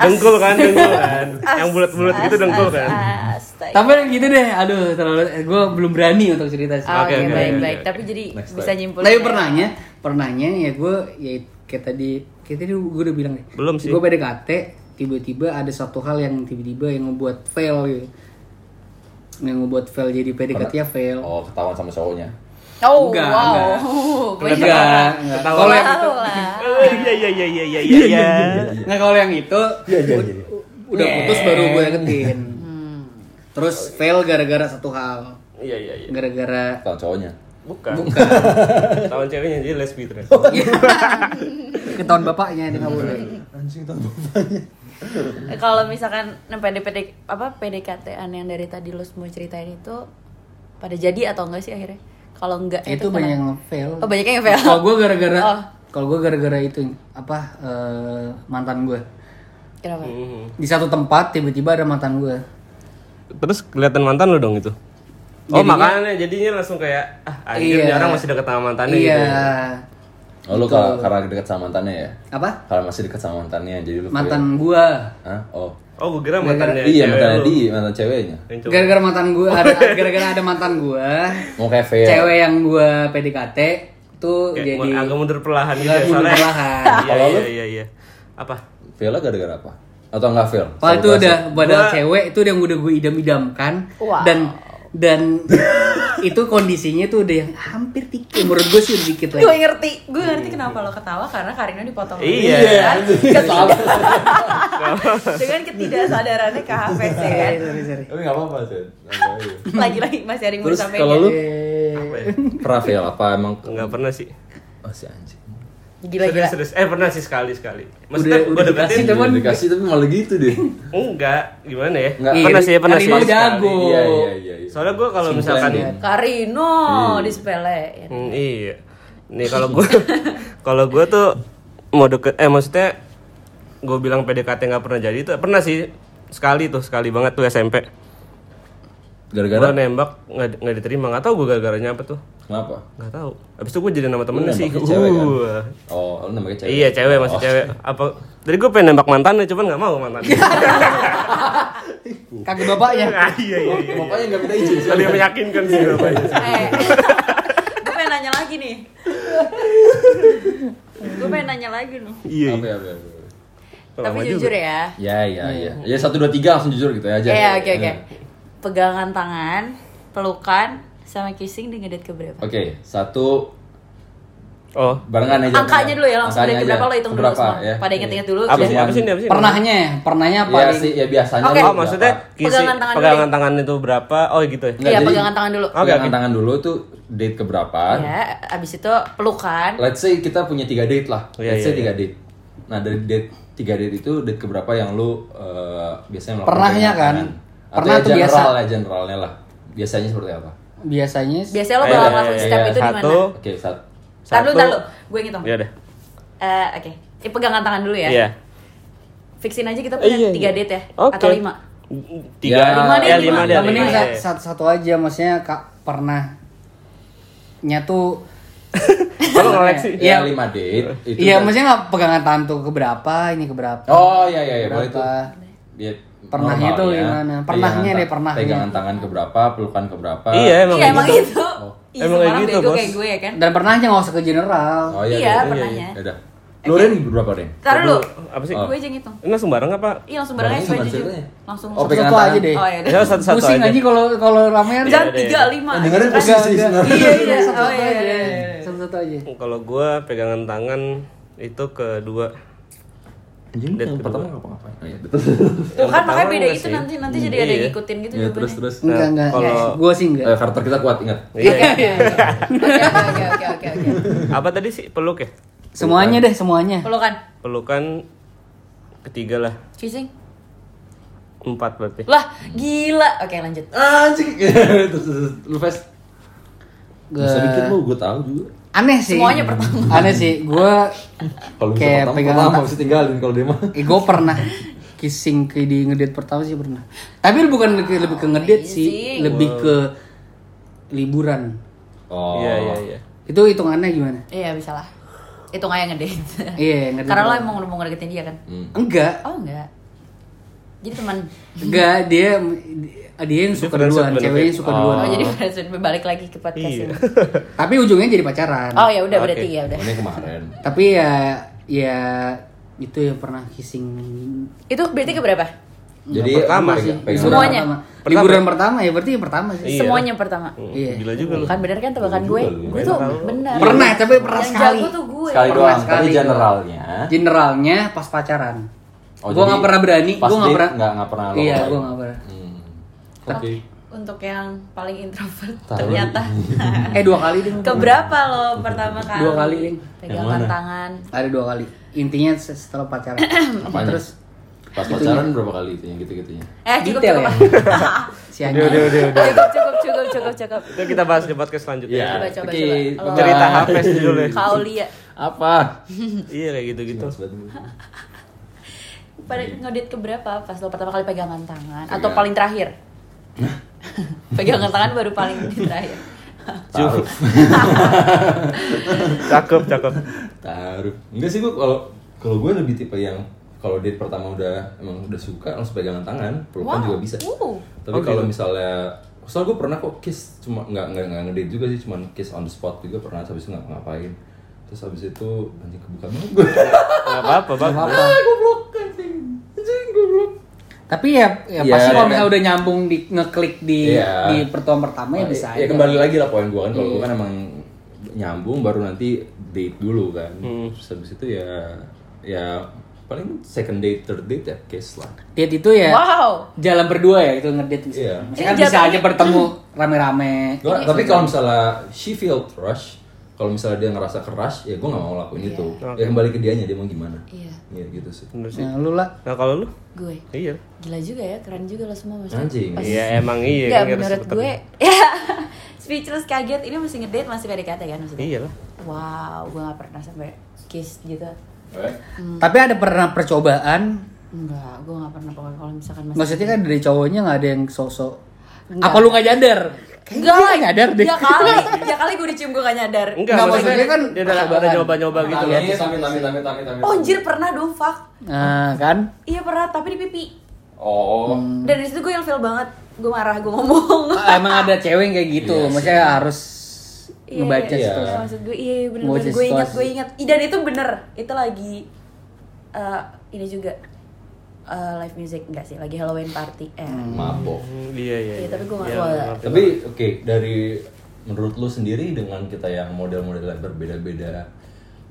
Dengkul kan, dengkul kan. Yang bulat-bulat gitu dengkul kan. Astaga. Tapi gitu deh, aduh terlalu gue belum berani untuk cerita sih. Ah, Oke, Oke, oke, baik, oke, baik. oke. Tapi jadi Next bisa time. nyimpulin. Tapi ya. pernahnya, pernahnya ya gue ya kayak tadi kayak tadi gue udah bilang deh. Belum sih. Gue PDKT tiba-tiba ada satu hal yang tiba-tiba yang ngebuat fail gitu. Yang ngebuat fail jadi PDKT ya fail. oh ketahuan sama cowoknya Oh, Enggak, wow. Baik. enggak. Enggak, enggak. Kalau yang itu, Wow lah. Oh, Iya iya iya iya iya iya. iya. nah kalau yang itu iya iya iya udah putus baru gue deketin. Hmm. Terus fail gara-gara satu hal. Iya iya iya. Gara-gara ketahuan cowoknya Bukan. Oh, iya. Tahun ceweknya jadi lesbi terus. ketahuan bapaknya ini nggak boleh. anjing tahu Kalau misalkan nah, PDPD apa PDKT-an yang dari tadi lo semua ceritain itu pada jadi atau enggak sih akhirnya? Kalau enggak itu kenapa? banyak yang fail. Oh, banyak yang fail. Kalau gue gara-gara Oh. kalau gue gara-gara itu apa eh, mantan gue Kenapa? Hmm. di satu tempat tiba-tiba ada mantan gue. Terus kelihatan mantan lu dong itu. Oh makanya jadinya langsung kayak ah anjir Iya. nih orang masih deket sama mantannya iya. gitu. oh lu ka- karena dekat sama mantannya ya Apa? karena masih dekat sama mantannya jadi lu fail. Mantan gue. Hah? oh Oh gue kira mantannya iya cewek mantannya lu. di mantan ceweknya Yang cowok. Gara-gara mantan gue ada gara-gara ada mantan gue. mau kayak fail Cewek yang gue PDKT tuh Kayak jadi Iya, mun- agak mundur perlahan gitu. Agak ya, mundur soalnya- perlahan. (laughs) Iya Kalau lu? iya iya iya. Apa? Failnya gara-gara apa? Atau nggak fail? Wah itu Sabotase? udah padahal cewek itu udah yang udah gue idam-idamkan Wow. dan dan (laughs) itu kondisinya tuh udah yang hampir dikit menurut gue sih udah dikit Gue lagi. ngerti, gue ngerti Iya. kenapa lo ketawa karena Karina dipotong. Iya. Kan? Dengan ketidaksadarannya ke HVC Iya, kan. Sorry, sorry. Tapi nggak apa-apa sih. Lagi-lagi masih ada yang mau Terus disampaikan. kalau lu Apa ya? pernah fail apa emang? Enggak pernah sih. Masih anjing. Gila gila. Serius, serius. Eh pernah sih sekali sekali. Udah- Maksudnya gue udah deketin dikasih teman. dikasih tapi malah gitu deh. enggak gimana ya? Enggak. Pernah Ih, sih, pernah kan sih. ini sekali. jago. Iya iya iya. iya. Soalnya gue kalau Simple misalkan aja. Karino Iya. disepelein. Hmm, iya. Nih kalau gue (laughs) kalau gue tuh mau deket eh maksudnya gue bilang PDKT nggak pernah jadi itu pernah sih sekali tuh sekali banget tuh SMP. Gara-gara Gue nembak nggak di- nggak diterima nggak tahu gue gara-garanya apa tuh kenapa? nggak tahu. Abis itu gue jadi nama temennya sih. Iya. nembaknya cewek kan? Wah. Oh, lu namanya cewek. Oh. Iya cewek masih cewek. Apa? Tadi gue pengen nembak mantannya cuman nggak mau mantannya. Kagak bapaknya. Ah, (laughs) iya iya. iya. Oh, Bapaknya enggak minta izin. Tadi yang meyakinkan sih ya? Iya, bapaknya. (laughs) Eh, gue pengen nanya lagi nih. gue pengen nanya lagi nih. Iya. Apa ya, apa ya, apa ya. Lama Tapi juga. jujur ya. Ya ya ya. Ya satu dua tiga langsung jujur gitu aja. Iya, oke oke. Pegangan tangan, pelukan, sama kissing di ngedate ke berapa? Oke, satu Oh. barengan aja. Angkanya dulu ya langsung Angkanya dari berapa aja. lo hitung dulu Berapa, semua. ya? Pada inget-inget dulu. Iya, Apa sih? Yang- Apa sih? ini, Apa sih? Pernahnya, pernahnya Iya paling sih, ya biasanya. Oke. lu Oh berapa? maksudnya kisi, Pegangan pegangan tangan tangan, dulu deh. itu berapa? Oh gitu ya. Enggak, Iya, jadi- pegangan tangan dulu. Oke, pegangan oke. tangan dulu tuh date ke berapa? Ya, abis itu pelukan. Let's say kita punya tiga date lah. Iya, Let's say iya, tiga date. Nah dari date tiga date itu date ke berapa yang lu eh, biasanya melakukan? Pernahnya pegangan kan? tangan? Atau Pernah ya tuh biasa. general ya generalnya lah. Biasanya seperti apa? biasanya sih. Biasanya lo Eh, bakal iya, ngelakuin iya, step iya. itu di mana? Satu. Oke, saat Tar dulu, Satu. tar dulu. Gue ngitung. Iya deh. Eh, oke. Ini pegangan tangan dulu ya. Iya. Fixin aja Iya, kita punya tiga date ya Oke. atau lima. Tiga. Ya, Lima deh, Ya, lima. lima deh. Yang lima. penting Iya, sat- iya. satu-satu aja maksudnya Kak pernah nyatu Kalau koleksi. (laughs) Iya. ya lima date itu. Iya, udah- maksudnya nggak pegangan tangan tuh keberapa, ini keberapa. Oh iya iya iya boleh Berapa? tuh. Dia Pernahnya normal tuh ya. gimana? Pernahnya Pegangan deh, ta- pernahnya. Pegangan tangan ke berapa, pelukan ke berapa? Iya emang. Iya emang gitu. gitu. Oh. Iya, Emang kayak orang gitu, bego Bos. kayak gue ya kan. Dan pernahnya nggak usah ke general. Oh iya. Iya, deh. pernahnya. Ya udah. Lu Ren berapa Ren? Tar dulu. Oh. Apa sih? Gue aja ngitung. Ini langsung bareng apa? Iya langsung bareng aja supaya Bareng jujur. ceritanya. Langsung. Oh, langsung. pegangan Satu-satu aja tangan. deh. Oh ya. Ya satu-satu Pusing aja. aja kalau kalau ramean. Jangan iya, iya. tiga Oh, lima. Dengerin Kan- pusing sih sebenarnya. Iya iya. Oh Satu-satu iya aja. iya. Satu-satu aja. Kalau gua pegangan tangan itu kedua. Anjing, Date yang kedua. pertama ngapa-ngapain? Oh, iya, Tuh kan makanya pertama beda enggak itu sih? nanti nanti jadi Iya. ada yang ngikutin gitu Ya terus terus. Enggak enggak. kalau- Gue sih enggak. Eh, karakter kita kuat ingat. Iya. Oke oke oke oke oke. apa tadi sih peluk ya? Semuanya deh, semuanya. Pelukan. Pelukan ketiga lah. Kissing. Empat berarti. Lah gila. Oke lanjut. Anjing. (laughs) terus terus lu fast. Bisa Gua- dikit lu, gue tahu juga. Aneh sih. Semuanya pertama. Aneh sih. Gue Kalau bisa Kayak pertama, pegangan pertama tangan. mesti tinggalin kalau dia mah. Eh, gue pernah kissing ke di ngedate pertama sih pernah. Tapi bukan ke- lebih ke Iya ngedate sih, amazing. lebih ke liburan. Oh. Iya iya iya. Itu hitungannya gimana? Iya bisa lah. Itu kayak ngedate. Iya, ngedate. Karena lo emang udah mau ngedeketin dia kan? Hmm. Enggak, Oh enggak. Jadi teman. enggak dia dia yang suka friendship duluan, benefit. ceweknya yang suka Oh, duluan. jadi friendzone balik lagi ke podcast Iya. ini. Tapi ujungnya jadi pacaran. Oh ya udah Oke. berarti ya udah. Ini kemarin. Tapi ya ya itu yang pernah kissing Itu berarti ke berapa? Jadi pertama pegang- sih. pegangan Semuanya. pertama. Pertama. Liburan pertama ya berarti yang pertama sih. Iya. Semuanya pertama. Hmm, Iya. Gila juga lu. Iya Kan bener kan tebakan gue? lu. Gue tuh Bener. bener. Pernah, tapi pernah Yang sekali. jago tuh gue. Sekali Pernah doang, tapi sekali. generalnya. Generalnya pas pacaran. Oh, gue jadi nggak pernah berani, pas gue nggak date pernah. nggak- nggak pernah lo Iya, lakuin. gue nggak pernah. Hmm. Oke. Oke. Untuk yang paling introvert Tahu. ternyata. (laughs) (laughs) Eh dua kali deh. Keberapa lo pertama kali? Dua kali, Ling. Yang Pegangan mana? tangan. Ada dua kali. Intinya setelah (clears throat) pacaran. Apanya? Terus Pas pacaran berapa kali itu yang gitu-gitunya? Eh cukup detail cukup. ya. si Udah udah Anya. udah udah. (laughs) cukup cukup cukup cukup cukup. Itu kita bahas di podcast selanjutnya. Coba, coba, Iya. Oh. Oke, coba. Lo- Cerita (laughs) Hafes judulnya. Kau lihat Apa? Iya kayak Gitu, gitu-gitu. pada ngedit ke berapa pas lo pertama kali pegangan tangan atau Pegangan. paling terakhir? (laughs) pegangan tangan baru (laughs) paling terakhir. Taruh. Cakep, cakep. Taruh. Enggak sih gue kalau kalau gue lebih tipe yang kalau date pertama udah emang udah suka langsung pegangan tangan, pelukan juga bisa. Wow. Tapi kalau misalnya soal gue pernah kok kiss cuma nggak nggak nggak ngedate juga sih cuman kiss on the spot juga pernah habis itu nggak ngapain terus habis itu anjing kebuka banget gue Enggak apa-apa, Bang. Tapi ya, ya Iya, pasti kalau iya. misalnya udah nyambung di ngeklik di Iya. di pertemuan pertama ya bisa ya aja. kembali lagi lah poin gue kan kalau gue kan emang nyambung baru nanti date dulu kan terus habis itu ya ya paling second date third date ya kiss lah Date itu ya Wow. jalan berdua ya itu ngedate misalnya. Iya. Misalnya kan Ini bisa jatuhnya- aja bertemu rame-rame. Gua- tapi kalau misalnya she feel rush kalau misalnya dia ngerasa keras ya gue nggak mau lakuin itu ya kembali ke dianya dia mau gimana Iya, ya gitu sih Bener sih. Nah, lu lah. Nah kalau lu? gue. Iya. Gila juga ya, keren juga lo semua mas. anjing Iya emang iya. Gak kan harus menurut seperti- gue, (laughs) ya speechless kaget. Ini masih ngedate, masih PDKT kan maksudnya. Iya lah. Wow, gue gak pernah sampai kiss gitu. Eh, Tapi ada pernah percobaan Enggak, gue gak pernah pokoknya kalau misalkan masih. Maksudnya kan dari cowoknya nggak ada yang sosok. Enggak. Apa lu nggak nyadar? Kayaknya Enggak dia lah, nggak nyadar deh. Ya (laughs) kali, ya kali gue dicium gue gak nyadar. Enggak, Nggak, maksudnya, maksudnya kan kan dia ada, ada percobaan. nyoba-nyoba gitu loh. Amit, amit, amit, amit, amit, amit. Oh, anjir pernah dong, fuck. Nah, (laughs) kan? Iya pernah, tapi di pipi. Oh, Dan dari situ gue ilfil banget. Gue marah, gue ngomong. Ah, Emang ada cewek yang kayak gitu, Iya sih. maksudnya harus Iya, (laughs) ngebaca gitu. iya. Iya. situasi. Iya, maksud gue iya iya, bener Ngebaca bener gue ingat situasi. gue ingat Ih, dan itu bener itu lagi eh, ini juga eh, live music enggak sih lagi Halloween party eh mabok. Hmm, Iya iya. Iya, tapi gue nggak Iya, tahu. ngerti. Tapi oke, dari menurut lu sendiri dengan kita yang model-model yang berbeda-beda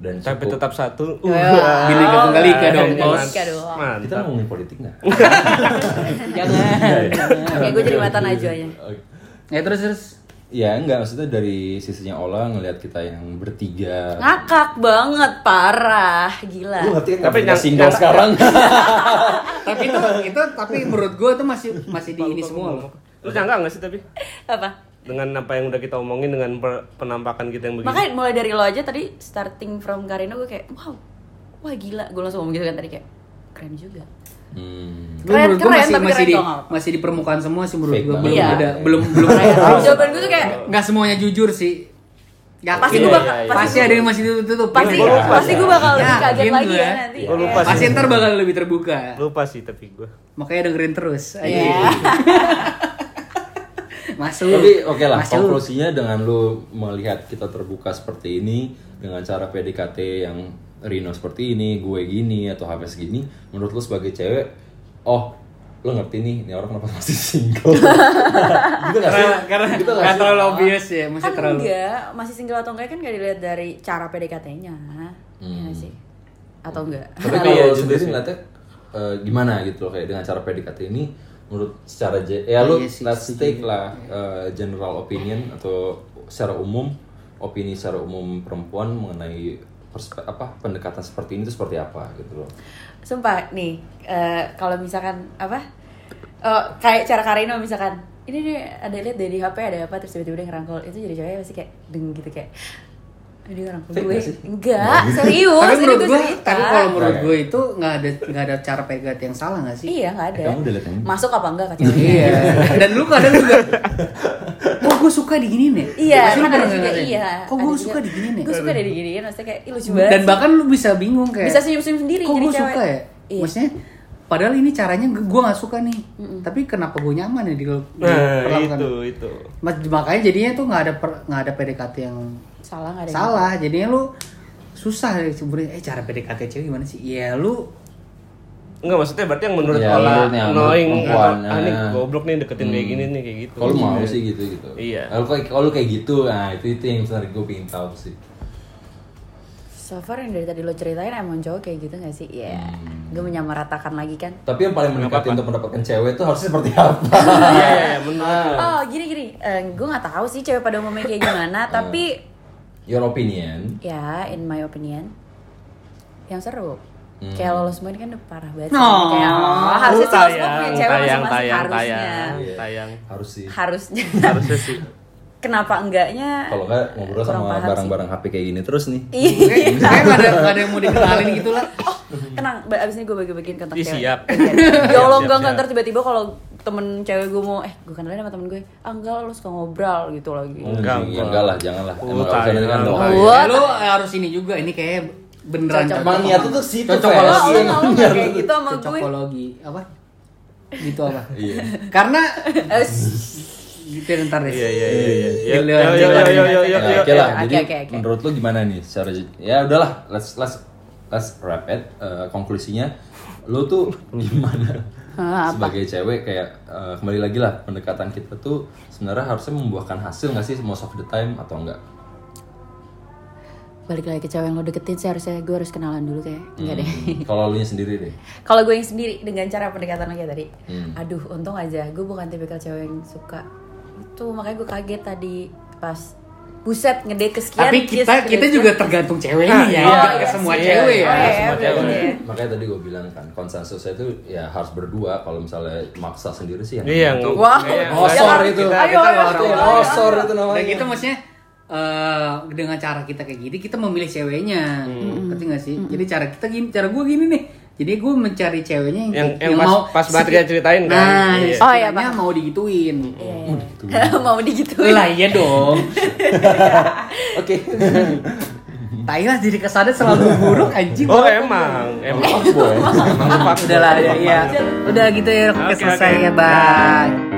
dan Tapi cukup tetap satu. Uh, Iya, Bineka Tunggal Ika dong, bos. Ika doang. kita Mantap. ngomongin politik nggak? Iya, Jangan. Oke, gue jadi mata Najwa aja. Oke. ya terus terus. Ya enggak, maksudnya dari sisinya Ola ngelihat kita yang bertiga. Ngakak banget, parah, gila. Lu ngerti Tapi kan tapi kita yang- single yang- sekarang. tapi itu itu tapi menurut gue itu masih masih di ini semua loh. Lu nyangka nggak sih tapi Apa? dengan apa yang udah kita omongin dengan per- penampakan kita yang begini? Makanya mulai dari lo aja tadi starting from Karina gue kayak wow. Wah gila, gue langsung ngomong gitu kan tadi kayak keren juga. Hmm. Tapi Keren, menurut gue keren, masih tapi masih keren di dong, apa? masih di permukaan semua sih menurut Fake gue belum banget. ada Iya. belum belum Keren. ya? Iya. Jawaban gue tuh kayak Iya, nggak semuanya jujur sih. Gak, Pasti gua bakal- pasti, pasti ada yang masih tutup-tutup. pasti Gua lupa. pasti gue bakal lebih Ya, kaget gitu lagi ya ya. nanti. Gua lupa sih. Pasti ntar bakal lebih terbuka. Lupa sih tapi gue. Makanya dengerin terus. (laughs) Iya. Ayo. Masuk. Tapi oke lah, Masuk. konklusinya dengan lu melihat kita terbuka seperti ini dengan cara PDKT yang Rino seperti ini, gue gini atau Hafiz gini, menurut lu sebagai cewek, oh lu ngerti nih, ini orang kenapa masih (laughs) single? gitu gak sih? karena karena gitu gak nggak sih? terlalu obvious ya, masih kan terlalu. enggak masih single atau enggak kan gak dilihat dari cara PDKT-nya Hmm. Iya nggak sih atau enggak Tapi Tapi kalau iya lu juga sendiri sih. ngeliatnya eh, gimana gitu loh kayak dengan cara PDKT ini menurut secara je- ya lu Iya sih, let's take lah Iya. eh, general opinion atau secara umum opini secara umum perempuan mengenai perspe- apa pendekatan seperti ini itu seperti apa gitu loh. sumpah nih eh, kalau misalkan apa eh, kayak cara Karino misalkan ini nih ada lihat dari HP ada apa terus tiba-tiba dia ngerangkul itu jadi cewek pasti kayak deng gitu kayak dia ngerangkul Fake gue nggak sih? enggak serius Tapi ini menurut gue gue, Iya, cerita. tapi kalau menurut Oke. gue itu nggak ada nggak ada cara pegat yang salah nggak sih? iya nggak ada Eh, kamu udah liat yang ini? masuk apa enggak kacau Iya. Dan lu kadang juga, kok gue suka diginiin ya? Iya, Pasti lu kan ada pernah juga, ngerasain, iya. Kok ada gue juga. suka diginiin ya? Gue suka dari diginiin, maksudnya kayak ih, lucu banget. Dan bahkan lu bisa bingung kayak. bisa senyum-senyum sendiri Kok jadi gue cewek. suka ya? Iya. Maksudnya, padahal ini caranya gue gak suka nih. Tapi kenapa gue nyaman ya di, di Nah perlakukan? itu itu. Mas- Makanya jadinya tuh nggak ada per- nggak ada PDKT yang salah nggak ada. yang- salah jadinya lu susah ya sebenarnya eh cara PDKT cewek gimana sih ya (laughs) lu Enggak maksudnya berarti yang menurut Iya, Ola menurutnya, menurut knowing perempuan, ah, ini ya. goblok nih deketin kayak gini nih kayak gitu. Kalau lu mau sih gitu gitu. Iya. Kalau kayak kalau lu kayak gitu, nah itu itu yang sebenarnya gue pengen tahu sih. So far yang dari tadi lo ceritain emang cowok kayak gitu gak sih? Iya. Hmm. Gue menyamaratakan lagi kan. Tapi yang paling mendekati untuk mendapatkan cewek itu harus seperti (laughs) apa? Iya iya iya, benar. Oh gini gini, gue nggak tahu sih cewek pada umumnya kayak Hmm. gimana, tapi Your opinion. ya in my opinion yang seru. Hmm. Kayak lo semua ini kan udah parah banget. Oh. kayak oh, harusnya sih lo semua punya iya. tayang, cewek tayang, masing-masing tayang, harusnya. tayang, Iya. tayang. Harus sih. Harusnya. Harusnya sih. (laughs) Kenapa enggaknya? Kalau nggak ngobrol kurang sama paham sih. barang-barang HP kayak gini terus nih. Iya. ya. kayak nggak ada nggak ada yang mau dikenalin gitu lah Oh, tenang, ba- abis ini gue bagi-bagiin kontak Ih, cewek. siap. (laughs) ya Allah Siap, enggak enggak siap. ntar tiba-tiba kalau temen cewek gue mau eh gue kenalin sama temen gue ah enggak lo suka ngobrol gitu lagi Enggak, enggak. Enggak, Iya, enggak lah, jangan lah. Oh, Emang harus ada tayang. kan dong. Oh. ya, lu harus ini juga ini kayak beneran Cocok. Emang niat tuh situ, Iya, Kalau Cocokologi. lo Fel. nggak lo nggak kayak gitu sama gue cocokologi apa gitu (laughs) apa Iya. karena Eh, (laughs) gitu ntar deh Iya iya iya iya. Yo, Giliran, yo, yo, giliran. yo, yo, yo, Nah, yo, Oke lah. iya. Oke, Jadi oke, oke. menurut lu gimana nih secara ya udahlah, let's let's let's wrap it. Eh, konklusinya lu tuh (laughs) gimana? Hah, apa? Sebagai cewek kayak eh, kembali lagi lah pendekatan kita tuh sebenarnya harusnya membuahkan hasil nggak sih most of the time atau enggak? balik lagi ke cewek yang lo deketin sih harusnya gue harus kenalan dulu kayak enggak deh Hmm, Kalau lu sendiri deh. kalau gue yang sendiri dengan cara pendekatan lo kayak tadi Hmm. aduh untung aja gue bukan tipikal cewek yang suka itu makanya gue kaget tadi pas buset ngedate kesekian Tapi kiss, kita kita kesekian. juga tergantung Ah, ceweknya ya. Oh, nggak iya semua sih. cewek ya. Oh, iya, Semua bener cewek. deh. makanya tadi gue bilang kan konsensusnya itu ya harus berdua kalau misalnya maksa sendiri sih yang Iya, yang itu Wow. Iya, ngosor Jangan- itu kita- Ayo, kita ayo, ngosor. ayo, ayo. ngosor itu namanya Dan kita maksudnya eh, dengan cara kita kayak gini kita memilih ceweknya. Hmm. Ngerti gak Hmm. sih? Jadi cara kita gini, cara gue gini nih. Jadi gue mencari ceweknya yang, Yang- yang pas- pas banget dia ceritain kan? Nah, Iya. oh, Oh, iya, Pak. mau digituin. (laughs) mau digituin Lah iya (laughs) dong. oke Thailand jadi kesannya selalu buruk anjing. Oh emang, emang Fuckboy. emang lu fuckboy. Udahlah ya, iya. Udah gitu ya, Oke, selesai oke. ya, bye.